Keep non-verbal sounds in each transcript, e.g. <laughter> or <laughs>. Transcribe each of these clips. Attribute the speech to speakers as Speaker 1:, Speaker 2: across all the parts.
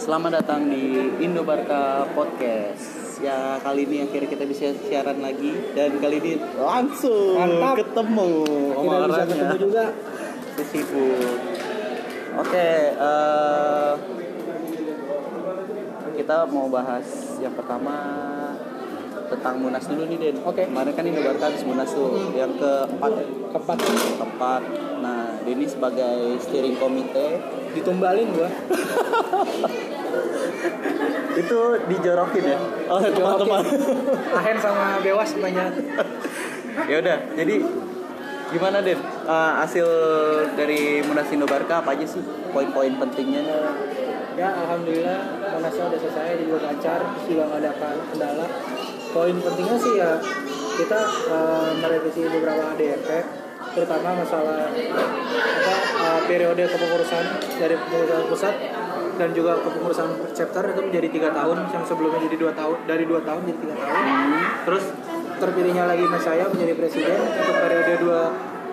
Speaker 1: Selamat datang di Indobarka Podcast. Ya kali ini akhirnya kita bisa siaran lagi dan kali ini langsung
Speaker 2: Mantap.
Speaker 1: ketemu.
Speaker 2: Akhirnya
Speaker 1: sama
Speaker 2: bisa
Speaker 1: orangnya.
Speaker 2: ketemu juga.
Speaker 1: Si sibuk. Oke, eh, kita mau bahas yang pertama tentang Munas dulu nih Den.
Speaker 2: Oke.
Speaker 1: Kemarin kan Indobarka habis Munas tuh yang keempat ya?
Speaker 2: Keempat
Speaker 1: keempat. Nah, Denny sebagai steering komite
Speaker 2: ditumbalin gua.
Speaker 1: itu dijorokin ya oleh teman-teman.
Speaker 2: <laughs> Ahen sama Bewas nanya
Speaker 1: ya udah, jadi gimana Den? Eh, hasil dari Munas Indobarka apa aja sih poin-poin pentingnya?
Speaker 2: Ya alhamdulillah Monasnya udah selesai jadi udah lancar, terus juga nggak ada kan- kendala. Poin pentingnya sih ya kita eh, merevisi beberapa ADRP terutama masalah apa eh, periode kepengurusan dari kepengurusan pusat dan juga kepengurusan chapter itu menjadi tiga tahun yang sebelumnya jadi dua tahun dari dua tahun jadi tiga tahun Terus terpilihnya lagi Mas saya menjadi presiden untuk periode 2 2018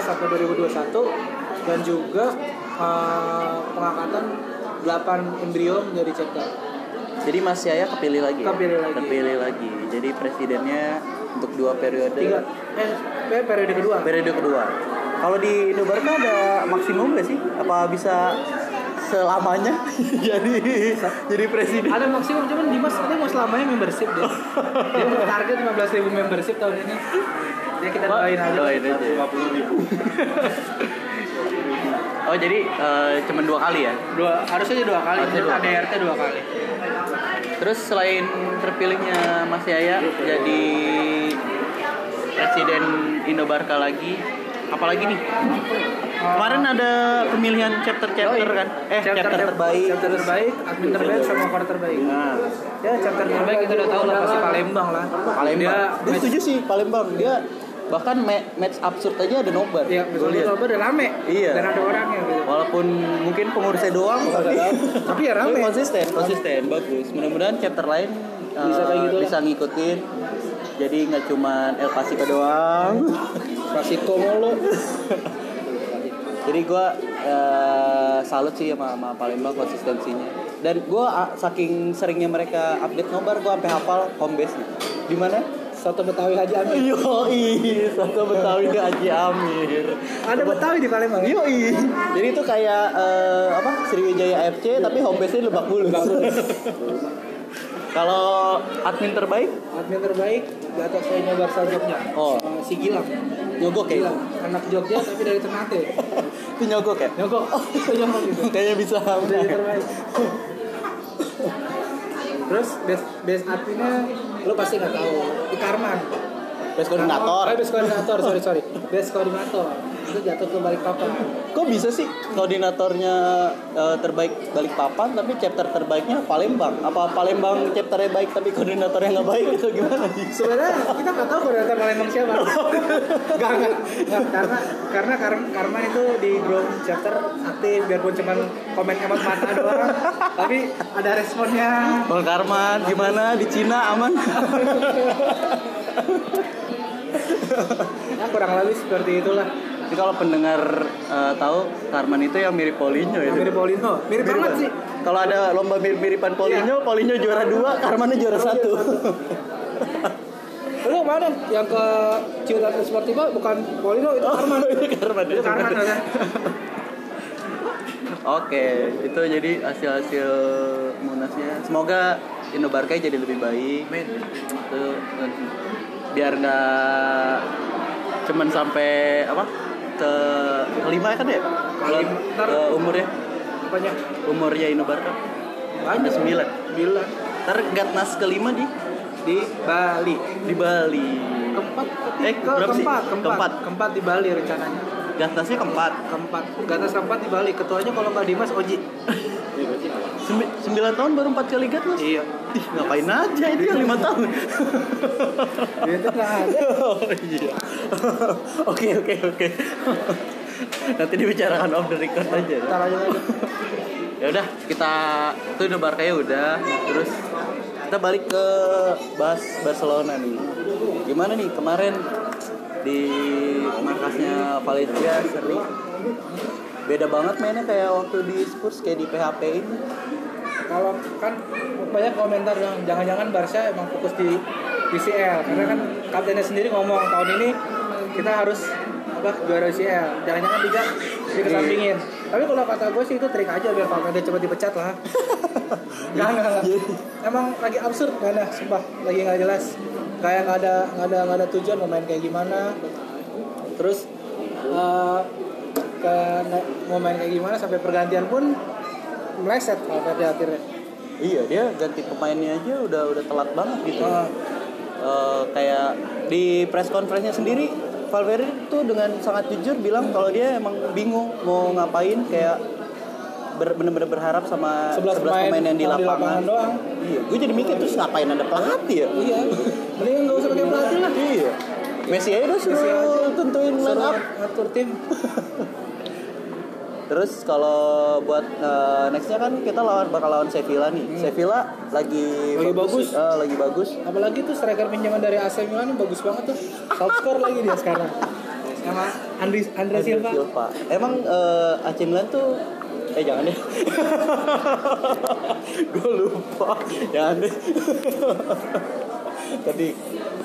Speaker 2: sampai 2021 dan juga eh, pengangkatan 8 embrio menjadi chapter.
Speaker 1: Jadi Mas Yaya kepilih lagi. ya?
Speaker 2: Kepilih lagi.
Speaker 1: Kepilih lagi. Jadi presidennya untuk dua periode.
Speaker 2: Tiga eh eh, periode kedua.
Speaker 1: Periode kedua. Kalau di Indobarka ada maksimum nggak sih? Apa bisa selamanya <laughs> jadi jadi presiden?
Speaker 2: Ada maksimum cuman Dimas katanya mau selamanya membership dia. dia mau target 15.000 membership tahun ini. Ya kita doain aja.
Speaker 1: Doain aja. Oh jadi eh, cuman dua kali ya?
Speaker 2: Dua, harusnya dua kali.
Speaker 1: Harusnya
Speaker 2: Menurut
Speaker 1: dua.
Speaker 2: ADRT dua kali.
Speaker 1: Terus selain terpilihnya Mas Yaya jadi presiden Indobarka lagi, apalagi nih? Kemarin ada pemilihan chapter-chapter kan? Eh, chapter, terbaik.
Speaker 2: chapter terbaik, admin terbaik sama core terbaik.
Speaker 1: Nah,
Speaker 2: Ya chapter terbaik kita udah tahu lah pasti Palembang lah.
Speaker 1: Palembang.
Speaker 2: Dia,
Speaker 1: Dia setuju sih Palembang. Dia bahkan ma- match absurd aja ada nobar.
Speaker 2: ya betul
Speaker 1: Gua lihat.
Speaker 2: betul udah rame.
Speaker 1: Iya.
Speaker 2: Dan ada orangnya gitu.
Speaker 1: Walaupun mungkin pengurusnya doang, tapi,
Speaker 2: Iya. Tapi ya rame.
Speaker 1: konsisten, konsisten, bagus. Mudah-mudahan chapter lain eh,
Speaker 2: Bisa kayak gitu lah.
Speaker 1: bisa ngikutin. Jadi nggak cuma El Pasico
Speaker 2: <laughs>
Speaker 1: doang.
Speaker 2: Klasiko mulu.
Speaker 1: Jadi gue salut sih sama, sama Palembang konsistensinya. Dan gue saking seringnya mereka update nobar, gue sampai hafal home base nya. Di mana?
Speaker 2: Satu Betawi Haji Amin.
Speaker 1: Yoi, Soto Betawi Haji Amir.
Speaker 2: Ada Betawi di Palembang. ya?
Speaker 1: Yoi. Jadi itu kayak eh, apa? Sriwijaya AFC tapi home base-nya Lebak Bulus. <laughs> Kalau admin terbaik
Speaker 2: Admin terbaik Gatot Soenya Barca Jogja.
Speaker 1: Oh.
Speaker 2: Eh, Si Gilang.
Speaker 1: nyogok ya.
Speaker 2: Gilang, anak Jogja tapi dari Ternate.
Speaker 1: <laughs> Itu nyogok ya. <laughs>
Speaker 2: <laughs> Nyogok. Nyogok gitu.
Speaker 1: Kayaknya bisa.
Speaker 2: Udah yang terbaik. Terus best best artinya lu pasti nggak tahu. Ikarman.
Speaker 1: Best koordinator.
Speaker 2: Eh, best koordinator, sorry sorry. Best koordinator. Itu jatuh ke balik papan.
Speaker 1: Kok bisa sih koordinatornya eh, terbaik Balikpapan tapi chapter terbaiknya Palembang? Apa Palembang chapternya baik tapi koordinatornya nggak baik itu gimana <laughs> sih?
Speaker 2: Sebenarnya kita nggak tahu koordinator Palembang
Speaker 1: <laughs>
Speaker 2: siapa.
Speaker 1: Oh.
Speaker 2: Gak, gak, gak. karena karena Kar- Karman itu di ground chapter aktif biarpun cuman komen emot mata doang. Tapi ada responnya.
Speaker 1: Bang Karman, gimana di Cina aman? <laughs>
Speaker 2: Ya, kurang lebih seperti itulah.
Speaker 1: Jadi kalau pendengar eh, tahu Karman itu yang mirip Paulinho ya.
Speaker 2: Mirip Paulino, mirip banget Iya. sih.
Speaker 1: Kalau ada lomba mirip-miripan Paulinho, Paulinho juara dua, Karmannya
Speaker 2: Iya.
Speaker 1: juara satu. <laughs>
Speaker 2: Lu kemarin yang ke Ciutat Esportiva bukan Polino itu
Speaker 1: Oh,
Speaker 2: Arman.
Speaker 1: Karman.
Speaker 2: Itu Arman kan?
Speaker 1: Oke, itu jadi hasil-hasil munasnya. Semoga Indobarka jadi lebih baik.
Speaker 2: Amin.
Speaker 1: Itu eh, biar nggak cuman sampai apa ke kelima kan ya? Kalau
Speaker 2: Iya, Ntar-
Speaker 1: eh, umurnya
Speaker 2: Apanya?
Speaker 1: umurnya Indobarka ada
Speaker 2: Banyak.
Speaker 1: sembilan.
Speaker 2: Bila
Speaker 1: Ntar Gatnas kelima di
Speaker 2: di Bali.
Speaker 1: di Bali.
Speaker 2: Keempat,
Speaker 1: Eh,
Speaker 2: ketika-
Speaker 1: berapa sih?
Speaker 2: keempat, keempat,
Speaker 1: Keempat.
Speaker 2: keempat di Bali rencananya.
Speaker 1: Gatnasnya keempat.
Speaker 2: Keempat, ganas keempat di Bali. Ketuanya kalau nggak Dimas Oji.
Speaker 1: Sembi- Sembilan tahun baru empat kali Gatnas.
Speaker 2: Iya.
Speaker 1: Ih, ngapain aja itu yang lima tahun?
Speaker 2: Ya, Itu nggak ada.
Speaker 1: <laughs> Oh, iya. <laughs> Oke oke oke. Nanti dibicarakan off the record aja.
Speaker 2: Ntar aja lagi.
Speaker 1: Ya udah kita itu udah Barkanya udah. Terus kita balik ke Bas Barcelona nih. Gimana nih kemarin di markasnya Valencia seri beda banget mainnya kayak waktu di Spurs kayak di PHP ini
Speaker 2: kalau kan banyak komentar yang jangan-jangan Barca emang fokus di UCL karena kan kaptennya sendiri ngomong tahun ini kita harus apa juara UCL jangan-jangan tidak dikesampingin tapi kalau kata gue sih itu trik aja biar Valverde cepat dipecat lah nggak nggak nggak. emang lagi absurd nggak ada sumpah lagi nggak jelas kayak nggak ada nggak ada nggak ada tujuan mau main kayak gimana terus eh, ke nggak- mau main kayak gimana sampai pergantian pun meleset Valverde akhirnya
Speaker 1: iya dia ganti pemainnya aja udah udah telat banget gitu
Speaker 2: Oh,
Speaker 1: Eh, kayak di press conference-nya sendiri Valverde tuh dengan sangat jujur bilang kalau dia emang bingung mau ngapain kayak ber, bener-bener berharap sama
Speaker 2: 11 pemain,
Speaker 1: yang di
Speaker 2: kalau
Speaker 1: lapangan,
Speaker 2: doang
Speaker 1: Iya, gue jadi mikir terus ngapain ada pelatih ya?
Speaker 2: iya mendingan nggak usah pakai pelatih lah
Speaker 1: Iya. Messi aja udah
Speaker 2: Messi aja.
Speaker 1: suruh tentuin line
Speaker 2: Suruh
Speaker 1: up.
Speaker 2: ngatur tim
Speaker 1: Terus kalau buat eh, nextnya kan kita lawan bakal lawan Sevilla nih. Sevilla lagi
Speaker 2: Hmm. Lagi bagus.
Speaker 1: eh, lagi bagus.
Speaker 2: apalagi tuh striker pinjaman dari AC Milan ini bagus banget tuh top score lagi dia sekarang sama Andri Andre Silva
Speaker 1: Emang eh, AC Milan tuh eh jangan deh. <laughs> Gue lupa. Jangan deh. <laughs> Tadi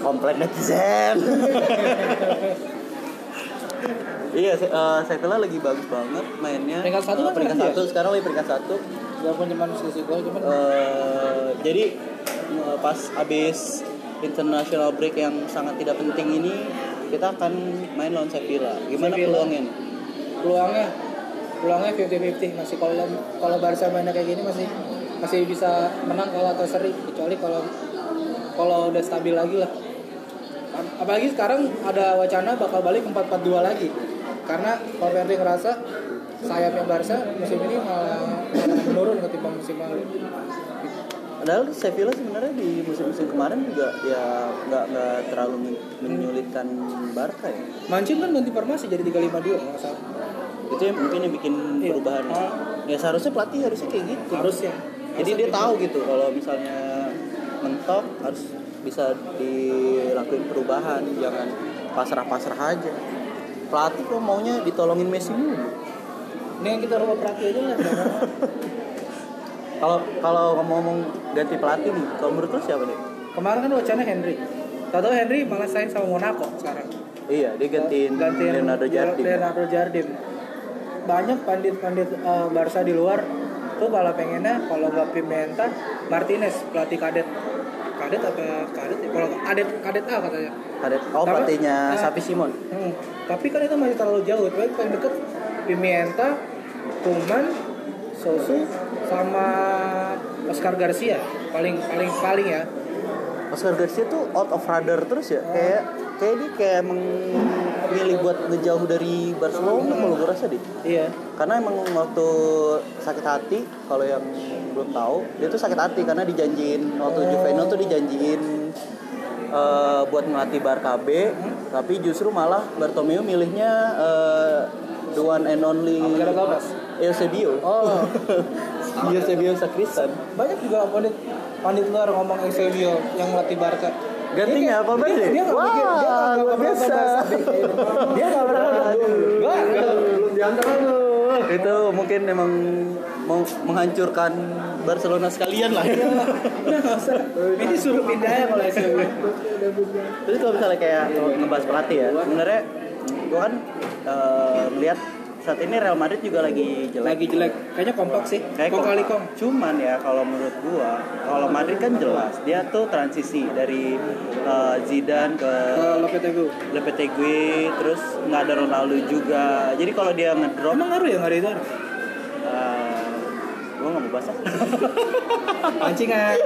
Speaker 1: komplain netizen. <laughs> iya, Se- eh, Sevilla lagi bagus banget mainnya.
Speaker 2: Peringkat satu
Speaker 1: Eh,
Speaker 2: kan
Speaker 1: peringkat
Speaker 2: berarti ya?
Speaker 1: satu. Sekarang lagi peringkat satu.
Speaker 2: walaupun cuma sisi gol cuman
Speaker 1: Eh, jadi eh, pas abis international break yang sangat tidak penting ini kita akan main lawan Sevilla. Gimana
Speaker 2: Sevilla.
Speaker 1: peluangnya?
Speaker 2: peluangnya peluangnya 50-50 masih kalau kalau Barca mainnya kayak gini masih masih bisa menang kalau atau seri kecuali kalau kalau udah stabil lagi lah Ap- apalagi sekarang ada wacana bakal balik 4-4-2 lagi karena Valverde ngerasa sayapnya Barca musim ini malah, malah menurun ketimbang musim lalu
Speaker 1: Padahal Sevilla sebenarnya di musim-musim kemarin juga ya nggak nggak terlalu men- menyulitkan Barca ya.
Speaker 2: Mancing kan ganti formasi jadi 352 kalau nggak salah
Speaker 1: Itu yang mungkin yang bikin
Speaker 2: Iya.
Speaker 1: perubahan. ya. Ya seharusnya pelatih harusnya kayak gitu.
Speaker 2: harusnya
Speaker 1: Jadi dia tahu gitu kalau misalnya mentok harus bisa dilakuin perubahan, jangan pasrah-pasrah aja. Pelatih kok maunya ditolongin Messi dulu.
Speaker 2: ini yang kita rubah pelatih aja lah jangan.
Speaker 1: Kalau kalau ngomong ganti pelatih nih, kalau menurut lu siapa nih?
Speaker 2: kemarin kan wacana Henry tahu Henry malah sign sama Monaco sekarang
Speaker 1: Iya, dia gantiin, Leonardo Jardim.
Speaker 2: Leonardo Jardim. Banyak pandit-pandit eh, Barca di luar tuh malah pengennya kalau nggak Pimenta, Martinez pelatih kadet. Kadet apa kadet? ya? Kalau kadet kadet A katanya.
Speaker 1: Ada oh
Speaker 2: Apa?
Speaker 1: pelatihnya
Speaker 2: Ah.
Speaker 1: Sapi Simon.
Speaker 2: Hmm, Tapi kan itu masih terlalu jauh. Tapi paling deket Pimenta, Kuman, Sosu sama Oscar Garcia paling paling paling ya.
Speaker 1: Oscar Garcia tuh out of radar terus ya. Kayak kayak dia kayak emang milih buat ngejauh dari Barcelona kalau gue rasa deh.
Speaker 2: Iya.
Speaker 1: karena emang waktu sakit hati kalau yang belum tahu dia tuh sakit hati karena dijanjiin waktu Juventus tuh dijanjiin eh, buat ngelatih Barca B tapi justru malah Bartomeu milihnya eh, the one and only
Speaker 2: Alvaro Gomez.
Speaker 1: Eusebio <laughs>
Speaker 2: Oh.
Speaker 1: Eusebio Sakristan
Speaker 2: banyak juga pandit pandit luar ngomong Eusebio yang melatih Barca
Speaker 1: Gantinya
Speaker 2: Dia kayak-
Speaker 1: Valverde?
Speaker 2: dia- dia nggak
Speaker 1: Wah,
Speaker 2: mikir- dia nggak- nggak
Speaker 1: luar
Speaker 2: pernah
Speaker 1: biasa.
Speaker 2: bahasa
Speaker 1: dia nggak pernah
Speaker 2: Nggak, nggak.
Speaker 1: belum diantar tuh itu mungkin emang mau menghancurkan Barcelona sekalian lah
Speaker 2: Udah, nggak usah. ini suruh pindah aja kalau Eusebio
Speaker 1: Terus kalau misalnya kayak kalau ngebahas pelatih ya, sebenarnya gue kan eh, melihat saat ini Real Madrid juga lagi jelek.
Speaker 2: lagi jelek kayaknya kompak sih
Speaker 1: Kayak
Speaker 2: kong kali kong
Speaker 1: Cuman ya kalau menurut gua, kalau Madrid kan jelas dia tuh transisi dari eh, Zidane ke
Speaker 2: ke Lopetegui
Speaker 1: Lopetegui, terus nggak ada Ronaldo juga. Jadi kalau dia ngedrop,
Speaker 2: emang ngaruh ya nggak ada itu
Speaker 1: eh, gua nggak mau bahas. ah.
Speaker 2: pancingan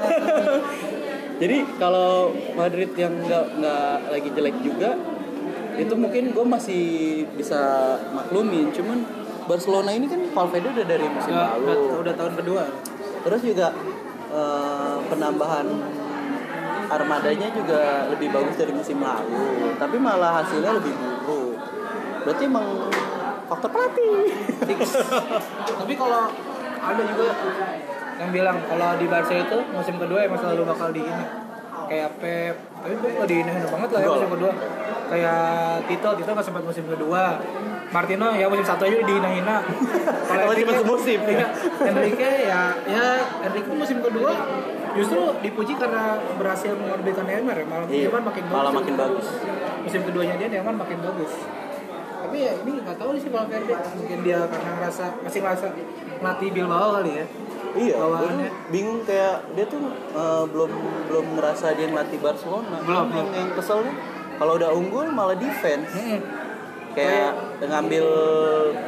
Speaker 1: Jadi kalau Madrid yang nggak nggak lagi jelek juga, itu mungkin gue masih bisa maklumin. Cuman Barcelona ini kan Valverde udah dari musim
Speaker 2: udah,
Speaker 1: lalu.
Speaker 2: udah tahun kedua
Speaker 1: Terus juga eh, penambahan armadanya juga lebih bagus dari musim lalu. Tapi malah hasilnya lebih buruk. Berarti emang faktor pelatih.
Speaker 2: tapi kalau ada juga yang bilang kalau di Barca itu musim kedua emang selalu bakal di ini kayak Pep tapi Pep nggak diindahin banget lah ya
Speaker 1: Enggak
Speaker 2: musim
Speaker 1: lah.
Speaker 2: kedua kayak Tito Tito nggak sempat musim kedua Martino ya musim satu aja
Speaker 1: <laughs>
Speaker 2: dihina-hina
Speaker 1: Kalau cuma
Speaker 2: Enrique-
Speaker 1: semusim.
Speaker 2: iya, Enrique ya ya Enrique musim kedua justru dipuji karena berhasil mengorbitkan Neymar ya malam
Speaker 1: Iya,
Speaker 2: Neymar makin bagus
Speaker 1: malah makin bagus.
Speaker 2: musim keduanya dia Neymar makin bagus tapi ya ini nggak tahu sih Valverde mungkin dia karena ngerasa masih ngerasa latih Bilbao kali ya
Speaker 1: Iya, gue
Speaker 2: Bawaannya.
Speaker 1: bingung kayak dia tuh eh, belum belum ngerasa dia ngelatih Barcelona.
Speaker 2: Belum,
Speaker 1: Yang, yang kesel tuh kalau udah unggul malah defense.
Speaker 2: Hmm.
Speaker 1: Kayak ngambil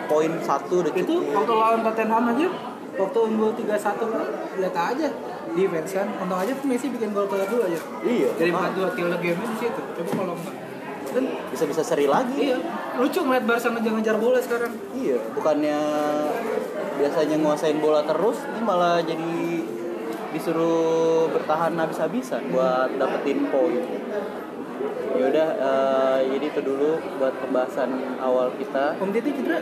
Speaker 1: poin satu udah
Speaker 2: itu
Speaker 1: cukup.
Speaker 2: waktu lawan Tottenham aja waktu unggul 3-1 kan lihat aja defense kan untung aja tuh Messi bikin gol kedua aja
Speaker 1: Iya.
Speaker 2: dari
Speaker 1: ah,
Speaker 2: 4-2 till the game di situ coba kalau enggak dan
Speaker 1: bisa-bisa seri lagi.
Speaker 2: iya lucu ngeliat Barca ngejar-ngejar bola sekarang
Speaker 1: Iya, bukannya biasanya nguasain bola terus, ini malah jadi disuruh bertahan habis-habisan buat dapetin poin. Ya udah, eh, jadi itu dulu buat pembahasan awal kita.
Speaker 2: Om Titi cedera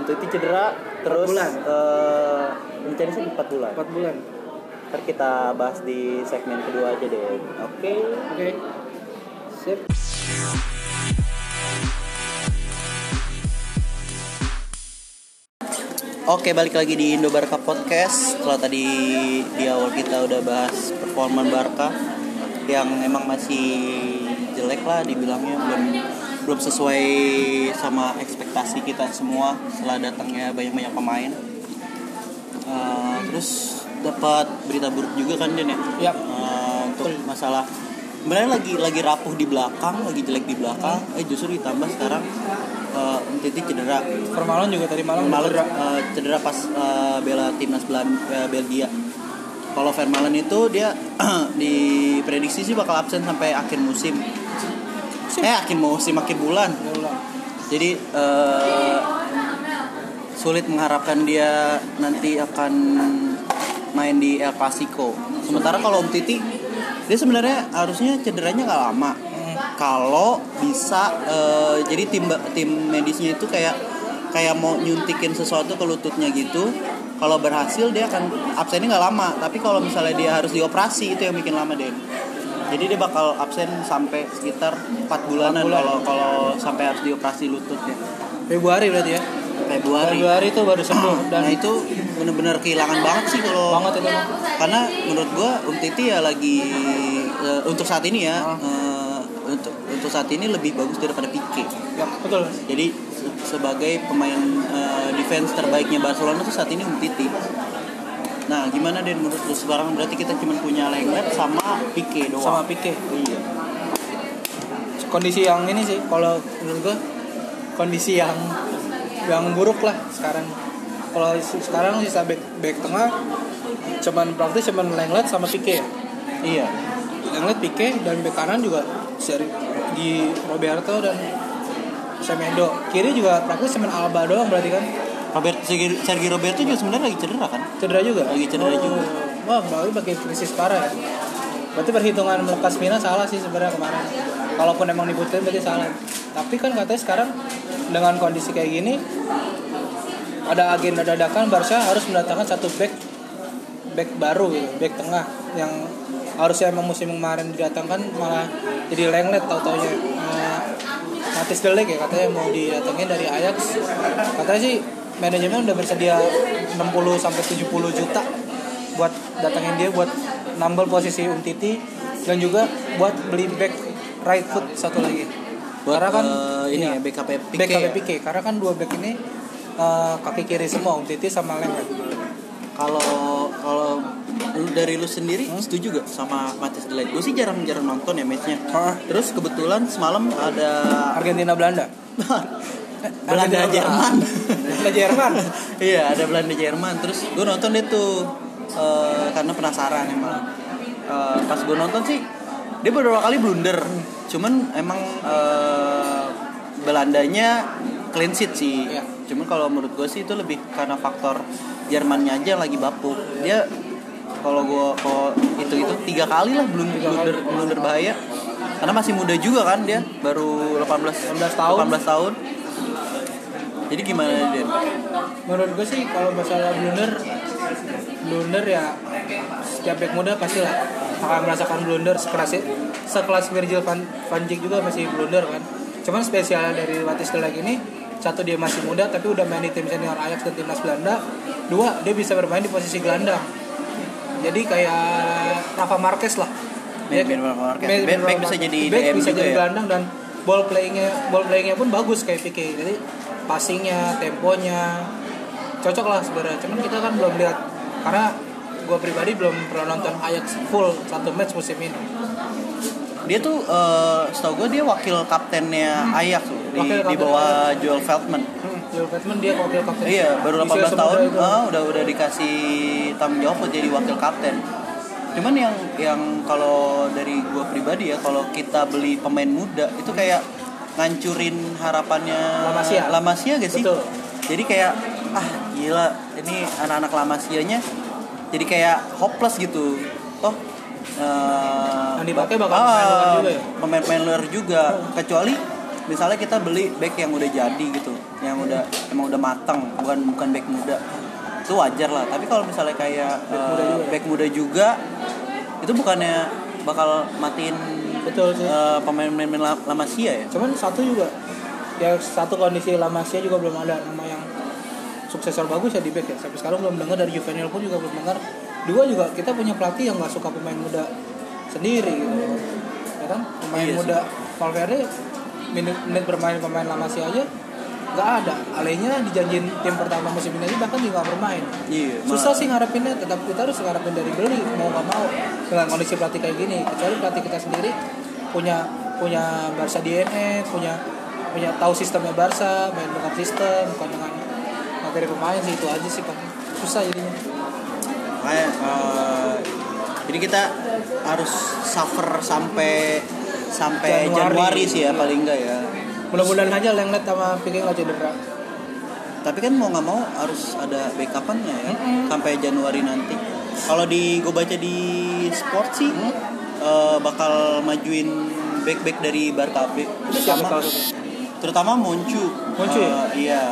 Speaker 1: Untuk itu cedera terus
Speaker 2: bulan.
Speaker 1: eh, mencari sih 4 bulan.
Speaker 2: 4 bulan
Speaker 1: Ntar kita bahas di segmen kedua aja deh. Oke.
Speaker 2: oke sip
Speaker 1: Oke, balik lagi di Indo Barca Podcast. Setelah tadi di awal kita udah bahas performa Barca yang emang masih jelek lah dibilangnya belum belum sesuai sama ekspektasi kita semua setelah datangnya banyak-banyak pemain. Eh, terus dapat berita buruk juga kan Den ya?
Speaker 2: Yap.
Speaker 1: Eh, untuk masalah sebenarnya lagi lagi rapuh di belakang, lagi jelek di belakang. Eh justru ditambah sekarang eh Umtiti cedera
Speaker 2: Permalon juga tadi malam
Speaker 1: malam eh, cedera pas eh, bela timnas Belan- eh, Belgia. Kalau Vermaelen itu dia <clears throat> diprediksi sih bakal absen sampai akhir musim. Eh akhir musim akhir bulan. Jadi eh, sulit mengharapkan dia nanti akan main di El Clasico. Sementara kalau Om Titi dia sebenarnya harusnya cederanya nggak lama. Kalau bisa eh, jadi tim tim medisnya itu kayak kayak mau nyuntikin sesuatu ke lututnya gitu. Kalau berhasil dia akan absennya nggak lama. Tapi kalau misalnya dia harus dioperasi itu yang bikin lama Den. Jadi dia bakal absen sampai sekitar 4 bulanan
Speaker 2: bulan.
Speaker 1: kalau kalau sampai harus dioperasi lututnya.
Speaker 2: Februari berarti ya
Speaker 1: Februari.
Speaker 2: Februari itu baru
Speaker 1: <clears throat>
Speaker 2: sembuh dan
Speaker 1: nah itu bener-bener kehilangan banget sih kalau
Speaker 2: banget itu Bang.
Speaker 1: karena menurut gua Um Titi ya lagi eh, untuk saat ini ya
Speaker 2: Ah.
Speaker 1: eh, untuk untuk saat ini lebih bagus daripada Pique.
Speaker 2: ya betul
Speaker 1: Jadi se- sebagai pemain eh, defense terbaiknya Barcelona tuh saat ini Um Titi. Nah, gimana Den menurut lu sekarang berarti kita cuma punya Lenglet sama Pique
Speaker 2: sama
Speaker 1: doang.
Speaker 2: Pique
Speaker 1: iya.
Speaker 2: kondisi yang ini sih kalau menurut gue kondisi yang yang buruk lah sekarang kalau se- sekarang sisa back, back tengah cuman praktis cuman Lenglet sama Pique ya
Speaker 1: Iya.
Speaker 2: Lenglet Pique dan back kanan juga seri di Roberto dan Semedo kiri juga praktis cuman Alba doang berarti kan
Speaker 1: Robert Sergi- Sergi Roberto juga sebenarnya lagi cedera kan?
Speaker 2: cedera juga
Speaker 1: Lagi cedera
Speaker 2: Oh.
Speaker 1: juga.
Speaker 2: wah Bali pakai krisis parah ya berarti perhitungan melepas Mina salah sih sebenarnya kemarin kalaupun emang dibutuhin berarti salah tapi kan katanya sekarang dengan kondisi kayak gini ada agenda dadakan Barca harus mendatangkan satu back back baru gitu, back tengah yang harusnya emang musim kemarin didatangkan malah jadi lenglet tau taunya Matis Delik ya katanya mau didatengin dari Ajax katanya sih manajemen udah bersedia 60 sampai 70 juta buat datangin dia buat nambal posisi Umtiti dan juga buat beli back right foot satu lagi
Speaker 1: Buat,
Speaker 2: karena kan
Speaker 1: eh, ini
Speaker 2: iya.
Speaker 1: ya BKP Pique.
Speaker 2: back
Speaker 1: ya?
Speaker 2: kaki Pique karena kan dua back ini eh, kaki kiri semua Om Titi sama Lenglet
Speaker 1: kalau kalau lu dari lu sendiri setuju gak sama Matis Delight? Gue sih jarang-jarang nonton ya matchnya.
Speaker 2: Hah?
Speaker 1: Terus kebetulan semalam ada
Speaker 2: Argentina Belanda
Speaker 1: Belanda
Speaker 2: Argentina-
Speaker 1: Jerman.
Speaker 2: Belanda Jerman
Speaker 1: <laughs> Iya ada Belanda Jerman. Terus gue nonton deh tuh eh, karena penasaran emang. Eh, pas gue nonton sih dia beberapa kali blunder. Cuman emang eh, Belandanya clean sheet sih.
Speaker 2: Iya.
Speaker 1: Cuman kalau menurut gue sih itu lebih karena faktor Jermannya aja yang lagi bapuk. Dia kalau gue kalau itu itu tiga kali lah belum blunder blunder bahaya. Karena masih muda juga kan dia baru 18
Speaker 2: 18 tahun.
Speaker 1: 18 tahun. Jadi gimana dia?
Speaker 2: menurut gue sih kalau masalah blunder blunder ya setiap back muda pasti lah akan merasakan blunder sekeras sekelas Virgil van, van Dijk juga masih blunder kan cuman spesial dari Batista lagi ini satu dia masih muda tapi udah main di tim senior Ajax dan timnas Belanda dua dia bisa bermain di posisi gelandang jadi kayak Rafa Marquez lah
Speaker 1: Ben-
Speaker 2: Dia-
Speaker 1: Ben Rafa Marquez.
Speaker 2: Ben-
Speaker 1: Ben-
Speaker 2: Ben
Speaker 1: back
Speaker 2: Rafa
Speaker 1: bisa
Speaker 2: Marquez.
Speaker 1: jadi
Speaker 2: Back
Speaker 1: DM
Speaker 2: bisa
Speaker 1: juga
Speaker 2: jadi
Speaker 1: ya?
Speaker 2: gelandang dan ball playingnya ball playingnya pun bagus kayak PK jadi passingnya temponya cocok lah sebenarnya cuman kita kan belum lihat karena gue pribadi belum pernah nonton Ajax full satu match musim ini
Speaker 1: Hmm. Dia tuh eh, setahu gue dia wakil kaptennya Ajax tuh di,
Speaker 2: Hmm. Wakil
Speaker 1: di
Speaker 2: kapten
Speaker 1: bawah Joel Feldman.
Speaker 2: Joel Batman dia wakil kapten
Speaker 1: Iya, baru
Speaker 2: Di usia
Speaker 1: 18 tahun
Speaker 2: semuda itu.
Speaker 1: ah, udah udah dikasih tanggung jawab buat jadi wakil kapten. Cuman yang yang kalau dari gua pribadi ya kalau kita beli pemain muda itu kayak ngancurin harapannya
Speaker 2: Lamasia.
Speaker 1: Lamasia gak sih?
Speaker 2: Betul.
Speaker 1: Jadi kayak ah gila ini anak-anak Lamasianya jadi kayak hopeless gitu. Oh eh,
Speaker 2: Yang dipakai
Speaker 1: ah,
Speaker 2: bakal pemain luar juga ya?
Speaker 1: pemain-pemain luar juga kecuali misalnya kita beli back yang udah jadi gitu yang udah emang udah matang bukan bukan back muda itu wajar lah tapi kalau misalnya kayak eh, back, muda juga, itu bukannya bakal matiin
Speaker 2: betul sih
Speaker 1: eh, pemain-pemain La- Lamasia ya
Speaker 2: cuman satu juga ya satu kondisi Lamasia juga belum ada nama yang suksesor bagus ya di back ya sampai sekarang belum dengar dari Juvenil pun juga belum dengar dua juga kita punya pelatih yang nggak suka pemain muda sendiri gitu ya kan pemain
Speaker 1: Iya sih.
Speaker 2: muda Valverde menit, menit bermain pemain Lamasia aja nggak ada alainya dijanjin tim pertama musim ini aja bahkan juga nggak bermain
Speaker 1: iya
Speaker 2: susah
Speaker 1: malah.
Speaker 2: sih ngarepinnya tetap kita harus ngarepin dari beli mau nggak mau dengan kondisi pelatih kayak gini kecuali pelatih kita sendiri punya punya Barca DNA punya punya tahu sistemnya Barca main dengan sistem bukan dengan materi pemain sih itu aja sih kan susah jadinya
Speaker 1: Makanya, eh, jadi kita harus suffer sampai sampai
Speaker 2: Januari.
Speaker 1: Januari, sih ya paling enggak ya
Speaker 2: mudah-mudahan aja Lenglet sama Piqué nggak cedera
Speaker 1: Tapi kan mau nggak mau harus ada backupannya ya sampai Januari nanti. Kalau di gue baca di sport sih eh, bakal majuin back-back dari Barca B.
Speaker 2: Itu
Speaker 1: Terutama,
Speaker 2: siapa kalau gitu?
Speaker 1: terutama Moncu.
Speaker 2: Moncu ya?
Speaker 1: Eh, iya.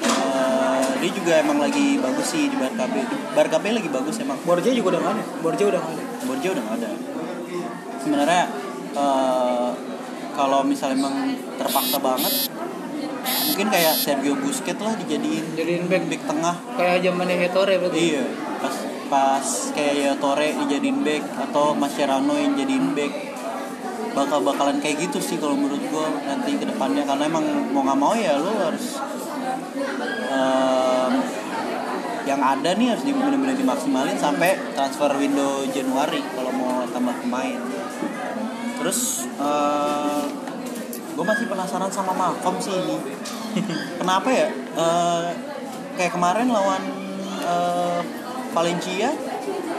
Speaker 1: Eh, dia juga emang lagi bagus sih di Barca B. Barca B lagi bagus emang.
Speaker 2: Borja juga udah nggak ada Borja udah nggak ada
Speaker 1: Borja udah nggak ada. Sebenarnya eh, kalau misalnya emang terpaksa banget, mungkin kayak Sergio Busquets lah dijadiin
Speaker 2: jadiin back
Speaker 1: back tengah
Speaker 2: kayak zamannya Hetore berarti
Speaker 1: Iya, pas pas kayak ya Tore dijadiin back atau Mascherano yang jadiin back bakal bakalan kayak gitu sih kalau menurut gua nanti kedepannya karena emang mau nggak mau ya lo harus eh, em, yang ada nih harus di- bener-bener dimaksimalin sampai transfer window Januari kalau mau tambah pemain terus gue masih penasaran sama Malcolm sih ini <laughs> kenapa ya Eh, kayak kemarin lawan eh, Valencia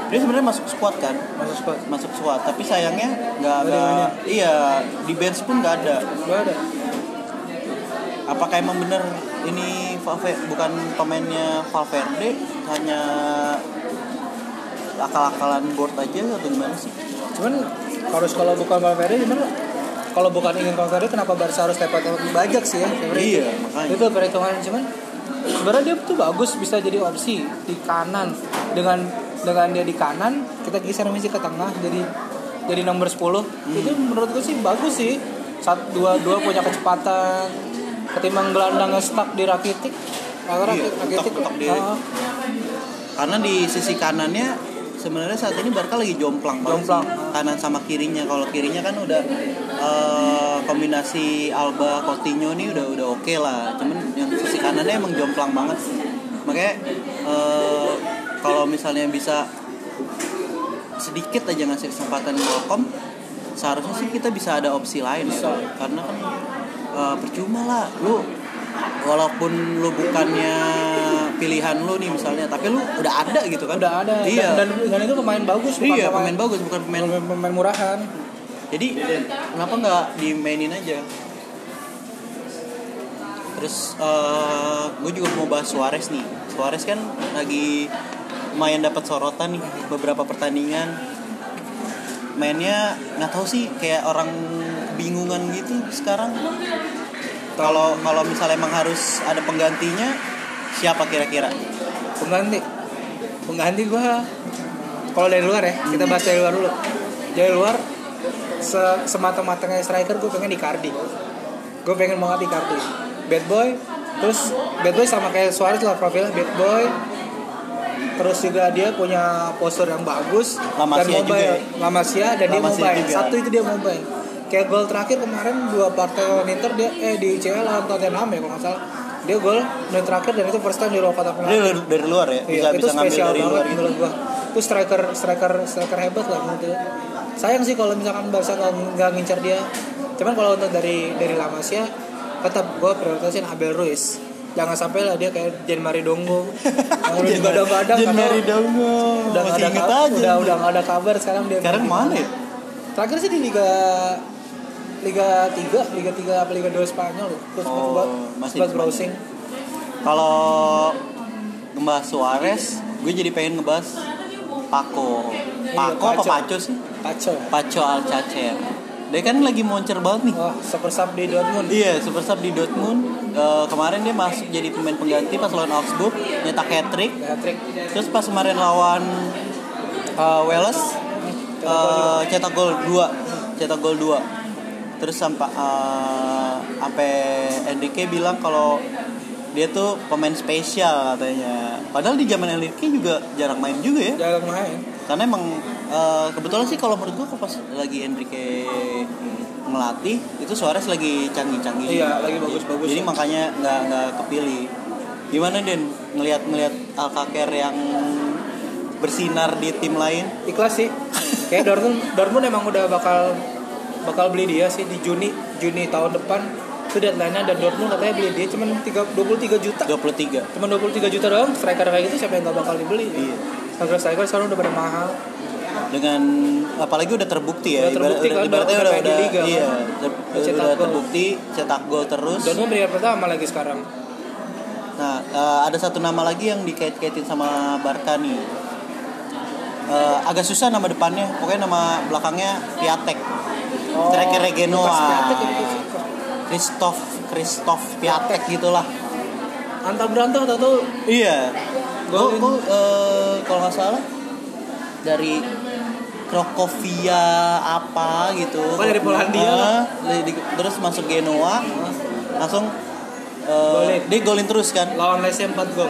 Speaker 1: dia sebenarnya masuk squad kan
Speaker 2: masuk squad
Speaker 1: masuk squad tapi sayangnya nggak
Speaker 2: Nggak
Speaker 1: ada iya di bench pun nggak ada
Speaker 2: nggak ada
Speaker 1: apakah emang bener ini Valve- bukan pemainnya Valverde hanya akal-akalan board aja atau gimana sih
Speaker 2: cuman harus kalau bukan Valverde gimana kalau bukan ingin Valverde kenapa Barca harus dapat bajak sih ya sebenarnya
Speaker 1: Iya,
Speaker 2: itu-
Speaker 1: makanya.
Speaker 2: itu perhitungan cuman sebenarnya dia tuh bagus bisa jadi opsi di kanan dengan dengan dia di kanan kita geser Messi ke tengah jadi jadi nomor 10
Speaker 1: Hmm.
Speaker 2: itu menurut gue sih bagus sih saat dua dua punya kecepatan ketimbang gelandangnya stuck di Rakitic maka
Speaker 1: Iya,
Speaker 2: Rakitic, Rakitic
Speaker 1: mentok-mentok diri.
Speaker 2: ah,
Speaker 1: karena di sisi kanannya sebenarnya saat ini Barca lagi jomplang banget
Speaker 2: Jomplang.
Speaker 1: sih. kanan sama kirinya kalau kirinya kan udah eh, kombinasi Alba Coutinho nih udah udah oke lah cuman yang sisi kanannya emang jomplang banget makanya eh, kalau misalnya bisa sedikit aja ngasih kesempatan Welcome seharusnya sih kita bisa ada opsi lain ya
Speaker 2: Bisa.
Speaker 1: karena kan eh, percuma lah lu walaupun lu bukannya pilihan lu nih misalnya tapi lu udah ada gitu kan
Speaker 2: udah ada
Speaker 1: iya
Speaker 2: dan, dan dan itu pemain bagus bukan
Speaker 1: iya
Speaker 2: pemain,
Speaker 1: pemain bagus bukan pemain
Speaker 2: pemain pemain murahan
Speaker 1: jadi kenapa nggak dimainin aja terus gue juga mau bahas Suarez nih Suarez kan lagi lumayan dapat sorotan nih beberapa pertandingan mainnya nggak tahu sih kayak orang bingungan gitu sekarang kalau kalau misalnya emang harus ada penggantinya siapa kira-kira
Speaker 2: pengganti pengganti gua kalau dari luar ya kita bahas dari luar dulu dari luar se semata-matanya striker gue pengen Icardi gue pengen banget Icardi bad boy terus bad boy sama kayak Suarez lah profilnya bad boy terus juga dia punya postur yang bagus
Speaker 1: La
Speaker 2: dan
Speaker 1: Masia
Speaker 2: mobile
Speaker 1: juga ya?
Speaker 2: La Masia dan
Speaker 1: La
Speaker 2: dia
Speaker 1: Masia
Speaker 2: mobile
Speaker 1: juga.
Speaker 2: satu itu dia mobile kayak gol terakhir kemarin dua partai lawan Inter dia eh di UCL lawan Tottenham ya kalau nggak salah dia gol menit terakhir dan itu first time di ruang kotak
Speaker 1: Ini
Speaker 2: penalti
Speaker 1: lu- dari luar ya, bisa
Speaker 2: Iya, itu
Speaker 1: bisa ngambil
Speaker 2: spesial
Speaker 1: dari
Speaker 2: banget
Speaker 1: luar gitu.
Speaker 2: menurut gua. Itu striker striker striker hebat lah menurut gua. Sayang sih kalau misalkan Barca nggak nggak ngincar dia. Cuman kalau untuk dari dari La Masia tetap gua prioritasin Abel Ruiz. Jangan sampai lah dia kayak Jean Marie
Speaker 1: <laughs>
Speaker 2: Dongo. Yang udah digadang-gadang
Speaker 1: Jen Mary
Speaker 2: karena
Speaker 1: Dongo.
Speaker 2: kan. udah nggak
Speaker 1: Masih
Speaker 2: ada
Speaker 1: inget
Speaker 2: kabar,
Speaker 1: aja.
Speaker 2: udah udah nggak ada kabar sekarang dia.
Speaker 1: Sekarang mana ya?
Speaker 2: Terakhir sih di Liga Liga 3, Liga 3 apa Liga 2 Spanyol loh. Terus
Speaker 1: Oh,
Speaker 2: buat
Speaker 1: masih
Speaker 2: buat
Speaker 1: di Spanyol.
Speaker 2: browsing.
Speaker 1: Kalau ngebahas Suarez, gue jadi pengen ngebahas Paco. Paco apa
Speaker 2: Paco.
Speaker 1: Paco sih?
Speaker 2: Paco.
Speaker 1: Paco Alcacer. Dia kan lagi moncer banget nih.
Speaker 2: Wah, super sub di Dortmund.
Speaker 1: Iya, super sub di Dortmund. Eh, kemarin dia masuk jadi pemain pengganti pas lawan Augsburg, nyetak hat-trick.
Speaker 2: Hat-trick.
Speaker 1: Terus pas kemarin lawan eh, Wales eh, cetak gol 2, cetak gol 2. Terus sampai eh, sampai Enrique bilang kalau dia tuh pemain spesial katanya. Padahal di zaman Enrique juga jarang main juga ya.
Speaker 2: Jarang main.
Speaker 1: Karena emang eh, kebetulan sih kalau menurut gua kalau pas lagi Enrique ngelatih itu Suarez lagi canggih-canggih.
Speaker 2: Iya, lagi bagus-bagus.
Speaker 1: Jadi makanya nggak nggak kepilih. Gimana Den ngelihat ngelihat Alcacer yang bersinar di tim lain?
Speaker 2: ikhlas sih kayak Dortmund Dortmund emang udah bakal bakal beli dia sih di Juni Juni tahun depan itu deadline-nya dan Dortmund katanya beli dia cuman 3, 23 juta
Speaker 1: 23.
Speaker 2: cuman 23 juta doang striker kayak gitu siapa yang gak bakal dibeli
Speaker 1: Iya.
Speaker 2: striker striker sekarang udah pada mahal
Speaker 1: Dengan apalagi udah terbukti ya.
Speaker 2: Udah terbukti kan,
Speaker 1: ibaratnya
Speaker 2: udah
Speaker 1: udah
Speaker 2: main di
Speaker 1: udah
Speaker 2: liga kan.
Speaker 1: iya, ter-
Speaker 2: Udah cetak
Speaker 1: udah
Speaker 2: gol.
Speaker 1: terbukti cetak gol terus.
Speaker 2: Dortmund peringkat pertama lagi sekarang
Speaker 1: Nah, eh, ada satu nama lagi yang dikait-kaitin sama Barca nih. Eh, agak susah nama depannya, pokoknya nama belakangnya Piatek.
Speaker 2: Oh,
Speaker 1: Striker
Speaker 2: Lukas
Speaker 1: Genoa.
Speaker 2: Piatek ya, itu sih.
Speaker 1: Christoph Christoph Piatek gitulah.
Speaker 2: antar berantah tau tau
Speaker 1: Iya. Gue
Speaker 2: Golin.
Speaker 1: eh, kalau nggak salah dari Krokovia apa gitu.
Speaker 2: Oh, dari Polandia
Speaker 1: Eh,
Speaker 2: lah.
Speaker 1: dari- terus masuk Genoa, langsung eh,
Speaker 2: Golin.
Speaker 1: dia golin terus kan.
Speaker 2: lawan Lesnya 4 gol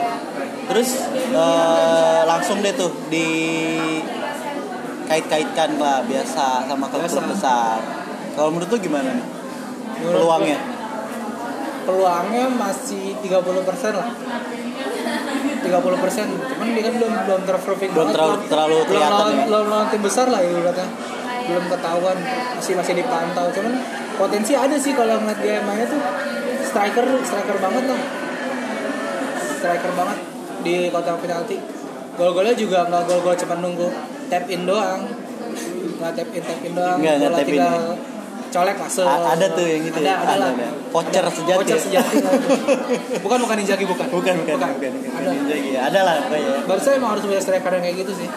Speaker 1: terus eh, langsung deh tuh di kait-kaitkan lah biasa sama klub-klub
Speaker 2: Biasa.
Speaker 1: besar. Kalau menurut lu gimana nih
Speaker 2: Menurut
Speaker 1: peluangnya?
Speaker 2: peluangnya masih 30% lah 30% cuman dia kan belum belum terproving
Speaker 1: Belum terlalu- terlalu
Speaker 2: belum
Speaker 1: kelihatan
Speaker 2: lawan,
Speaker 1: ya.
Speaker 2: belum lawan tim besar lah ibaratnya belum ketahuan masih masih dipantau cuman potensi ada sih kalau ngeliat dia mainnya tuh striker striker banget lah striker banget di kotak penalti gol-golnya juga nggak gol-gol cuma nunggu tap in doang nggak tap in tap in doang
Speaker 1: Nggak, nggak
Speaker 2: Bola
Speaker 1: tap in
Speaker 2: tinggal colek masuk
Speaker 1: A- ada tuh yang gitu
Speaker 2: eh, ada,
Speaker 1: ya?
Speaker 2: ada,
Speaker 1: Ada,
Speaker 2: lah.
Speaker 1: ada. Pocher sejati
Speaker 2: Pocher
Speaker 1: ya? <laughs>
Speaker 2: sejati lah. bukan bukan Inzaghi bukan
Speaker 1: Bukan bukan bukan bukan, bukan,
Speaker 2: Ada.
Speaker 1: Inzaghi ya. Ada lah pokoknya.
Speaker 2: Barca emang harus punya striker yang kayak gitu sih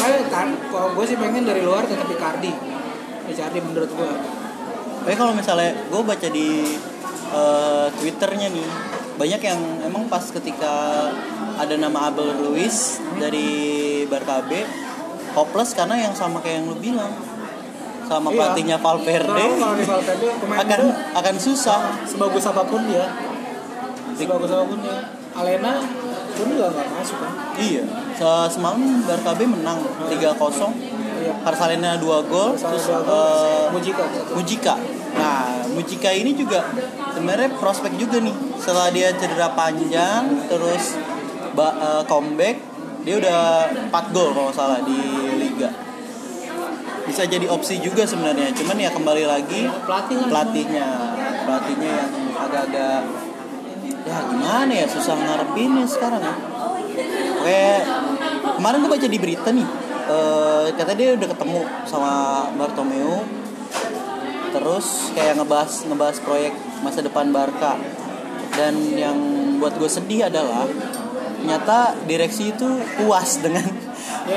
Speaker 2: kayak kan kalau gue sih pengen dari luar tetap Icardi Icardi menurut Iya. gue
Speaker 1: Tapi kalau misalnya gue baca di eh, twitternya nih banyak yang emang pas ketika ada nama Abel Ruiz dari Barca B hopeless karena yang sama kayak yang lu bilang sama
Speaker 2: Iya.
Speaker 1: pelatihnya Valverde
Speaker 2: Soalnya Nah, kalau di Valverde pemain
Speaker 1: akan
Speaker 2: muda
Speaker 1: akan susah
Speaker 2: sebagus apapun dia sebagus apapun dia Alena pun juga nggak masuk kan
Speaker 1: iya Se- semalam Barca B menang 3-0
Speaker 2: iya
Speaker 1: Harsalena 2 gol
Speaker 2: Salah
Speaker 1: terus
Speaker 2: dua
Speaker 1: eh,
Speaker 2: gol Mujika satu.
Speaker 1: Mujika. Nah, Mujika ini juga sebenarnya prospek juga nih. Setelah dia cedera panjang, terus ba- eh, comeback, dia udah 4 gol kalau nggak salah di liga. Bisa jadi opsi juga sebenarnya. Cuman ya kembali lagi
Speaker 2: pelatih kan
Speaker 1: pelatihnya, pelatihnya yang agak-agak ya gimana ya susah ngarepinnya sekarang ya. Oke, kemarin gue baca di berita nih, eh, katanya dia udah ketemu sama Bartomeu, terus kayak ngebahas ngebahas proyek masa depan Barca dan yang buat gue sedih adalah ternyata direksi itu puas dengan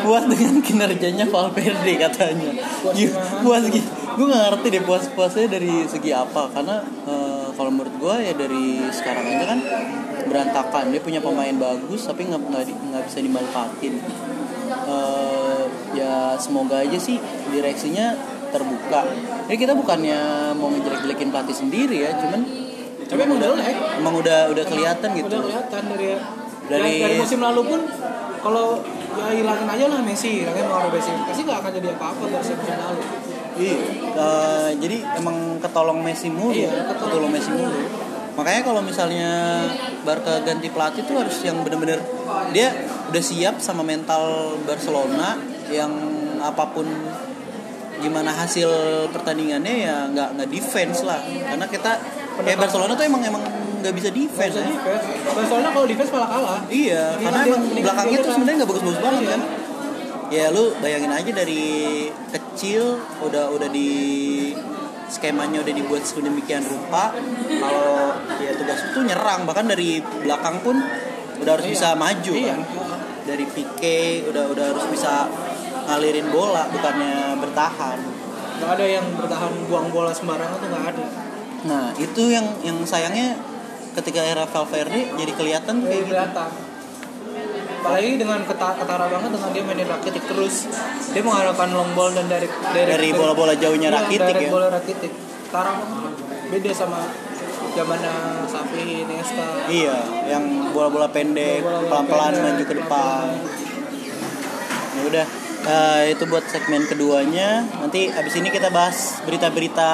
Speaker 1: puas dengan kinerjanya Valverde katanya
Speaker 2: Puas
Speaker 1: Gih,
Speaker 2: gimana?
Speaker 1: puas gitu gue nggak ngerti deh puas puasnya dari segi apa karena eh, kalau menurut gue ya dari sekarang aja kan berantakan dia punya pemain bagus tapi nggak nggak di- nggak bisa dimanfaatin Eh, ya semoga aja sih direksinya terbuka. Jadi kita bukannya mau ngejelek-jelekin pelatih sendiri ya, cuman
Speaker 2: Tapi emang udah jelek.
Speaker 1: emang udah udah kelihatan gitu.
Speaker 2: Udah kelihatan dari dari,
Speaker 1: Dari-
Speaker 2: dari musim lalu pun kalau ya hilangin aja lah Messi, hilangin Mauro Messi. Pasti nggak akan jadi apa-apa dari musim lalu.
Speaker 1: Iya. eh, jadi emang ketolong Messi mulu,
Speaker 2: Iya, ketolong.
Speaker 1: ketolong Messi mulu. Makanya kalau misalnya Barca ganti pelatih tuh harus yang bener-bener dia udah siap sama mental Barcelona yang apapun gimana hasil pertandingannya ya nggak nggak defense lah karena kita kayak Barcelona tuh emang emang nggak bisa defense
Speaker 2: Jadi
Speaker 1: ya.
Speaker 2: defense. Barcelona kalau defense malah kalah.
Speaker 1: Iya,
Speaker 2: Mendingan
Speaker 1: karena
Speaker 2: dia-
Speaker 1: emang
Speaker 2: mendingan
Speaker 1: belakangnya
Speaker 2: dia
Speaker 1: tuh
Speaker 2: kan.
Speaker 1: sebenarnya nggak bagus-bagus banget
Speaker 2: Iya.
Speaker 1: kan. Ya lu bayangin aja dari kecil udah udah di skemanya udah dibuat sedemikian rupa kalau ya tugas itu nyerang bahkan dari belakang pun udah harus bisa maju
Speaker 2: Iya.
Speaker 1: kan. Dari Pique udah udah harus bisa ngalirin bola bukannya bertahan.
Speaker 2: Nggak ada yang bertahan buang bola sembarangan tuh nggak ada.
Speaker 1: Nah, itu yang yang sayangnya ketika era Valverde jadi kelihatan
Speaker 2: Jadi
Speaker 1: kayak gitu.
Speaker 2: kelihatan. Apalagi dengan keta- ketara banget dengan dia mainin rakitik terus. Dia mengharapkan long ball dan dari dari,
Speaker 1: Dari bola-bola jauhnya
Speaker 2: Iya,
Speaker 1: Rakitic
Speaker 2: direct
Speaker 1: ya.
Speaker 2: bola rakitik. Ketara banget. Beda sama zamannya Safi, Nesta.
Speaker 1: Iya, yang bola-bola pendek,
Speaker 2: Bola-bola
Speaker 1: pelan-pelan
Speaker 2: pendek,
Speaker 1: maju ke depan. Ya udah, eh, itu buat segmen keduanya. Nanti abis ini kita bahas berita-berita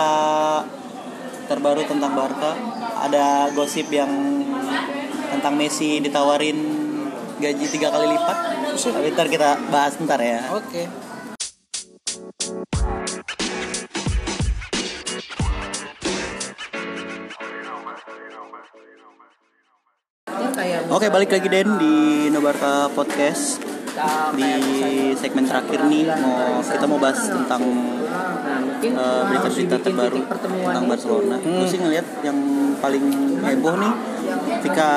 Speaker 1: terbaru tentang Barca. Ada gosip yang tentang Messi ditawarin gaji tiga kali lipat. Tapi ntar kita bahas ntar ya.
Speaker 2: Oke. Oh,
Speaker 1: Oke, balik lagi Den di Nobarka Podcast. Di segmen terakhir nih mau kita mau bahas tentang eh, berita-berita terbaru tentang Barcelona. Gue sih ngeliat yang paling heboh nih ketika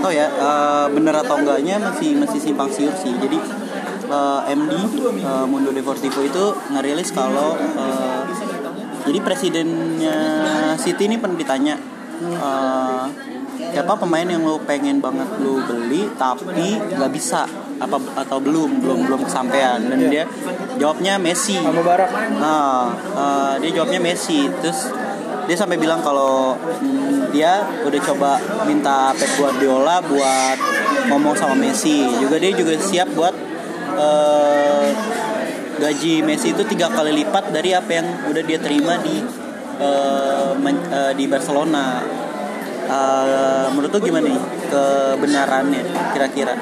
Speaker 1: tau ya eh, bener atau enggaknya masih masih simpang siur sih. Jadi eh, MD eh, Mundo Deportivo itu ngerilis kalau eh, jadi presidennya City ini pernah ditanya eh, siapa pemain yang lo pengen banget lo beli tapi nggak bisa apa atau belum belum belum kesampaian dan dia jawabnya Messi.
Speaker 2: Sama Barak.
Speaker 1: Nah, eh, dia jawabnya Messi. Terus dia sampai bilang kalau mm, dia udah coba minta Pep Guardiola buat ngomong sama Messi. Juga dia juga siap buat eh, gaji Messi itu tiga kali lipat dari apa yang udah dia terima di eh, Man- eh, di Barcelona. Eh, menurut lu gimana nih kebenarannya kira-kira?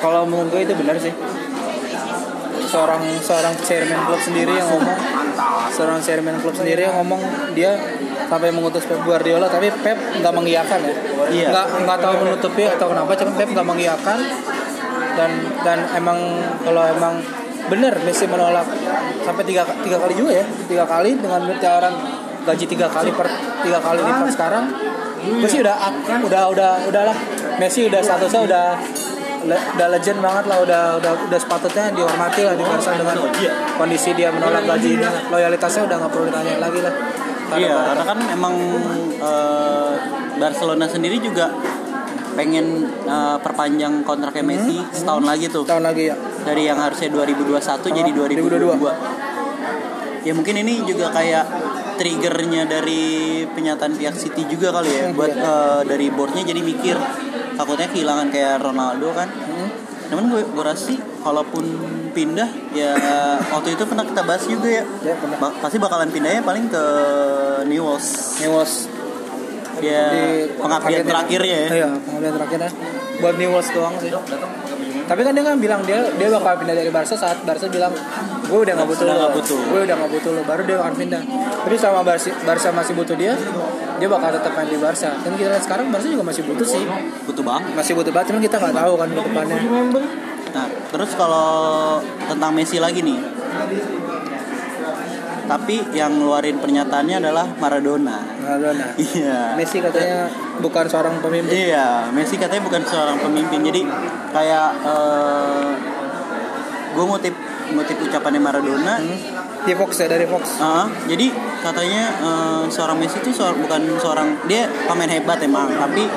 Speaker 2: Kalau menurut gue itu benar sih. Seorang seorang chairman klub sendiri yang ngomong, seorang chairman klub sendiri yang ngomong dia sampai mengutus Pep Guardiola, tapi Pep nggak mengiyakan ya.
Speaker 1: Iya.
Speaker 2: Nggak nggak tahu menutupi atau kenapa, cuma Pep nggak mengiyakan dan dan emang kalau emang benar Messi menolak sampai tiga tiga kali juga ya tiga kali dengan tawaran gaji tiga kali per tiga kali lipat sekarang gue sih udah kan? udah udah udahlah Messi udah statusnya udah le- udah legend banget lah udah udah udah sepatutnya dihormati lah di Barca dengan kondisi dia menolak gaji ini lah. loyalitasnya udah nggak perlu ditanya lagi lah
Speaker 1: Iya, karena kan emang eh, Barcelona sendiri juga pengen eh, perpanjang kontraknya Messi setahun lagi tuh
Speaker 2: tahun lagi ya
Speaker 1: dari yang harusnya 2021 jadi
Speaker 2: 2022.
Speaker 1: 2022. Ya mungkin ini juga kayak triggernya dari penyataan pihak City juga kali ya buat eh, dari boardnya jadi mikir takutnya kehilangan kayak Ronaldo kan. Namun gue gue rasa sih kalaupun pindah ya waktu itu pernah kita bahas juga ya.
Speaker 2: ya benar
Speaker 1: Ba- pasti bakalan pindahnya paling ke Newells
Speaker 2: Newells
Speaker 1: dia
Speaker 2: Di-
Speaker 1: pengabdian
Speaker 2: Iya, targetin.
Speaker 1: terakhirnya ya
Speaker 2: Iya, pengabdian terakhirnya buat Newells doang sih. Tapi kan dia kan bilang dia dia bakal pindah dari Barca saat Barca bilang gue udah nggak butuh
Speaker 1: Udah
Speaker 2: lo,
Speaker 1: nggak butuh.
Speaker 2: gue udah nggak butuh lo, baru dia akan pindah. Tapi selama Barca, Barca masih butuh dia, dia bakal tetap main di Barca. Dan kita lihat sekarang Barca juga masih butuh sih,
Speaker 1: butuh banget
Speaker 2: masih butuh banget. Cuman kita nggak tahu kan ke depannya.
Speaker 1: Nah, terus kalau tentang Messi lagi nih. Tapi yang ngeluarin pernyataannya adalah Maradona. <laughs>
Speaker 2: Maradona.
Speaker 1: Iya.
Speaker 2: nah. Messi katanya bukan seorang pemimpin.
Speaker 1: Iya, Messi katanya bukan seorang pemimpin. Jadi kayak gue ngutip ngutip ucapannya Maradona.
Speaker 2: Di Fox ya dari Fox.
Speaker 1: Ah, jadi katanya eh, seorang Messi itu seor- bukan seorang dia pemain hebat emang, tapi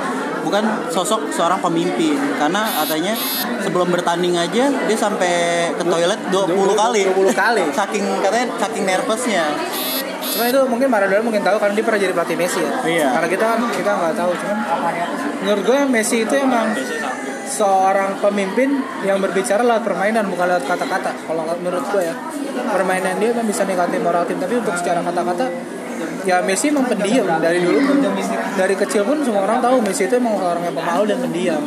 Speaker 1: bukan sosok seorang pemimpin karena katanya sebelum bertanding aja dia sampai ke toilet 20 kali
Speaker 2: 20 kali.
Speaker 1: <laughs> saking katanya saking nervousnya
Speaker 2: Cuma itu mungkin Maradona mungkin tahu karena dia pernah jadi pelatih Messi ya.
Speaker 1: Iya.
Speaker 2: Karena kita kan kita nggak tahu cuman menurut gue Messi itu emang seorang pemimpin yang berbicara lewat permainan bukan lewat kata-kata. Kalau nggak- menurut gue ya permainan dia memang bisa ningkatin moral tim tapi untuk secara kata-kata ya Messi emang pendiam dari dulu dari kecil pun semua orang tahu Messi itu emang orang yang pemalu dan pendiam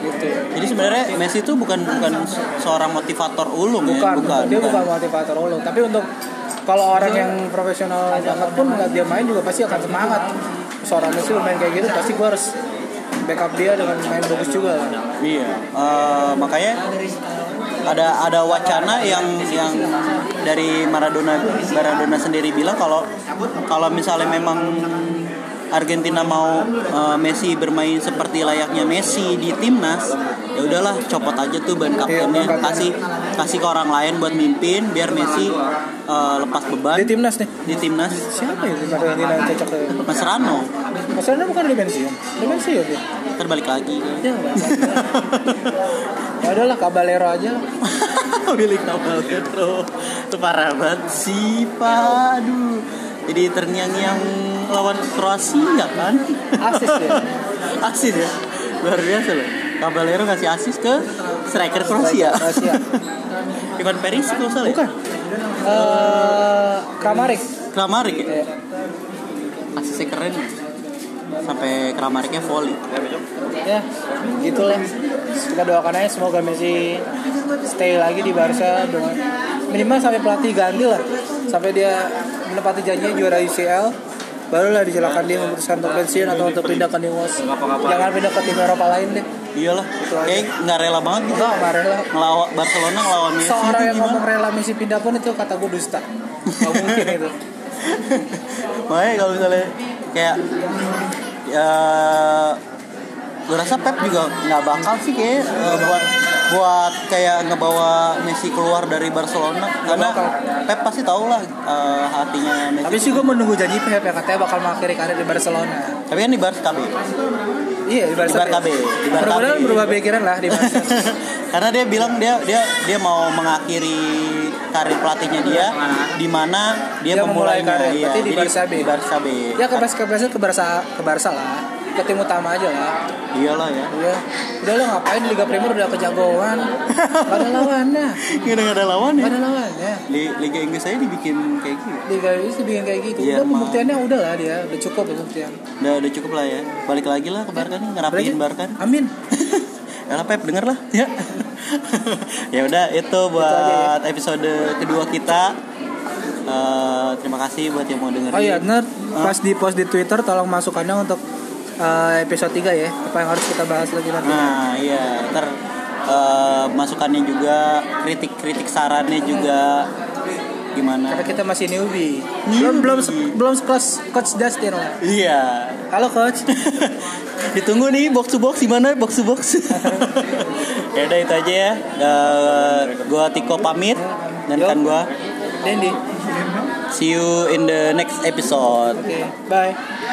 Speaker 2: gitu ya.
Speaker 1: jadi sebenarnya Messi itu bukan bukan se- seorang motivator ulung
Speaker 2: bukan,
Speaker 1: ya bukan,
Speaker 2: dia
Speaker 1: bukan.
Speaker 2: bukan motivator ulung tapi untuk kalau orang yang profesional banget pun nggak dia main juga pasti akan semangat seorang Messi bermain kayak gitu pasti gue harus backup dia dengan main bagus juga lah.
Speaker 1: Iya. Eh, makanya ada ada wacana yang yang dari Maradona Maradona sendiri bilang kalau kalau misalnya memang Argentina mau eh, Messi bermain seperti layaknya Messi di timnas, ya udahlah copot aja tuh ban kaptennya,
Speaker 2: Iya, ban
Speaker 1: kasih kasih ke orang lain buat mimpin biar Messi eh, lepas beban
Speaker 2: di timnas nih
Speaker 1: di timnas
Speaker 2: siapa ya di Argentina yang cocok ya?
Speaker 1: Mas Rano
Speaker 2: Masalahnya bukan di pensiun, di pensiun ya.
Speaker 1: terbalik lagi.
Speaker 2: Ya nggak apa-apa. Ya udahlah Caballero aja lah.
Speaker 1: <laughs> Milik kapal Petro Itu parah banget sih Pak Aduh Jadi terngiang-ngiang lawan Kroasia kan <laughs>
Speaker 2: Asis ya?
Speaker 1: Asis ya Luar biasa loh Caballero ngasih asis ke striker Kroasia
Speaker 2: Kroasia.
Speaker 1: <laughs> Ivan Perisic kalau salah ya?
Speaker 2: Bukan. Eh Kamarik.
Speaker 1: Kramarik ya?
Speaker 2: Ya.
Speaker 1: Asisnya keren Sampai Kramariknya volley
Speaker 2: ya gitulah kita doakan aja semoga Messi stay lagi di Barca dengan minimal sampai pelatih ganti lah sampai dia menepati janjinya juara UCL barulah disilakan dia memutuskan untuk pensiun atau untuk pindah ke Newell's jangan pindah ke tim Eropa lain deh
Speaker 1: Iyalah Kayak nggak rela banget gitu
Speaker 2: enggak marah lah
Speaker 1: Ngelawan Barcelona ngelawan Messi
Speaker 2: seorang
Speaker 1: itu
Speaker 2: yang
Speaker 1: gimana
Speaker 2: ngomong rela Messi pindah pun itu kata gue dusta nggak mungkin itu
Speaker 1: <laughs> Makanya kalau misalnya kayak ya gue rasa Pep juga nggak bakal sih kayak eh, buat buat kayak ngebawa Messi keluar dari Barcelona karena
Speaker 2: bakal.
Speaker 1: Pep pasti tau lah eh, hatinya Messi.
Speaker 2: tapi sih gue menunggu janji Pep ya katanya bakal mengakhiri karir di Barcelona
Speaker 1: Tapi <laughs> kan di Barca KB.
Speaker 2: iya di Barca
Speaker 1: Di Barca B, di Barca B.
Speaker 2: mudah-mudahan berubah pikiran lah di Barca
Speaker 1: karena dia bilang dia dia dia mau mengakhiri karir pelatihnya dia di mana dia,
Speaker 2: Dia memulai
Speaker 1: memulainya
Speaker 2: karir,
Speaker 1: Iya,
Speaker 2: berarti di
Speaker 1: jadi
Speaker 2: Barca B.
Speaker 1: di Barca B.
Speaker 2: ya ke Barca ke Barca ke Barca lah ke tim utama aja lah
Speaker 1: iyalah ya
Speaker 2: Iya. Udah lo ngapain di Liga Primer udah kejagoan. Gak ada lawannya.
Speaker 1: nggak ada lawan
Speaker 2: Gak
Speaker 1: ya
Speaker 2: ada lawannya.
Speaker 1: Li- Liga Inggris saya dibikin kayak gitu
Speaker 2: Liga Inggris dibikin kayak gitu.
Speaker 1: Iya,
Speaker 2: udah
Speaker 1: emang.
Speaker 2: pembuktiannya udah lah dia. Udah cukup pembuktian.
Speaker 1: Udah, udah cukup lah ya. Balik lagi lah ke Barca nih, ngerapiin
Speaker 2: Berarti-
Speaker 1: Barca. nih. <laughs>
Speaker 2: Amin.
Speaker 1: Yalah Pep, denger lah <laughs> ya. ya udah itu buat
Speaker 2: ya.
Speaker 1: episode kedua kita. Eh, terima kasih buat yang mau dengerin.
Speaker 2: Oh iya, bener. Pas di post di Twitter tolong masukannya untuk eh, episode 3 ya. Apa yang harus kita bahas lagi nanti.
Speaker 1: Nah, iya, ter eh, masukannya juga, kritik-kritik sarannya juga
Speaker 2: Karena
Speaker 1: gimana?
Speaker 2: kita masih newbie.
Speaker 1: Newbie.
Speaker 2: Belum belum se- belum sekelas coach Dustin lah.
Speaker 1: Iya.
Speaker 2: Halo coach.
Speaker 1: <laughs> Ditunggu nih box to box di mana box to box. <laughs> ya udah itu aja ya. Eh, gua Tiko pamit dan kan gua
Speaker 2: Dendi.
Speaker 1: See you in the next episode.
Speaker 2: Oke, bye.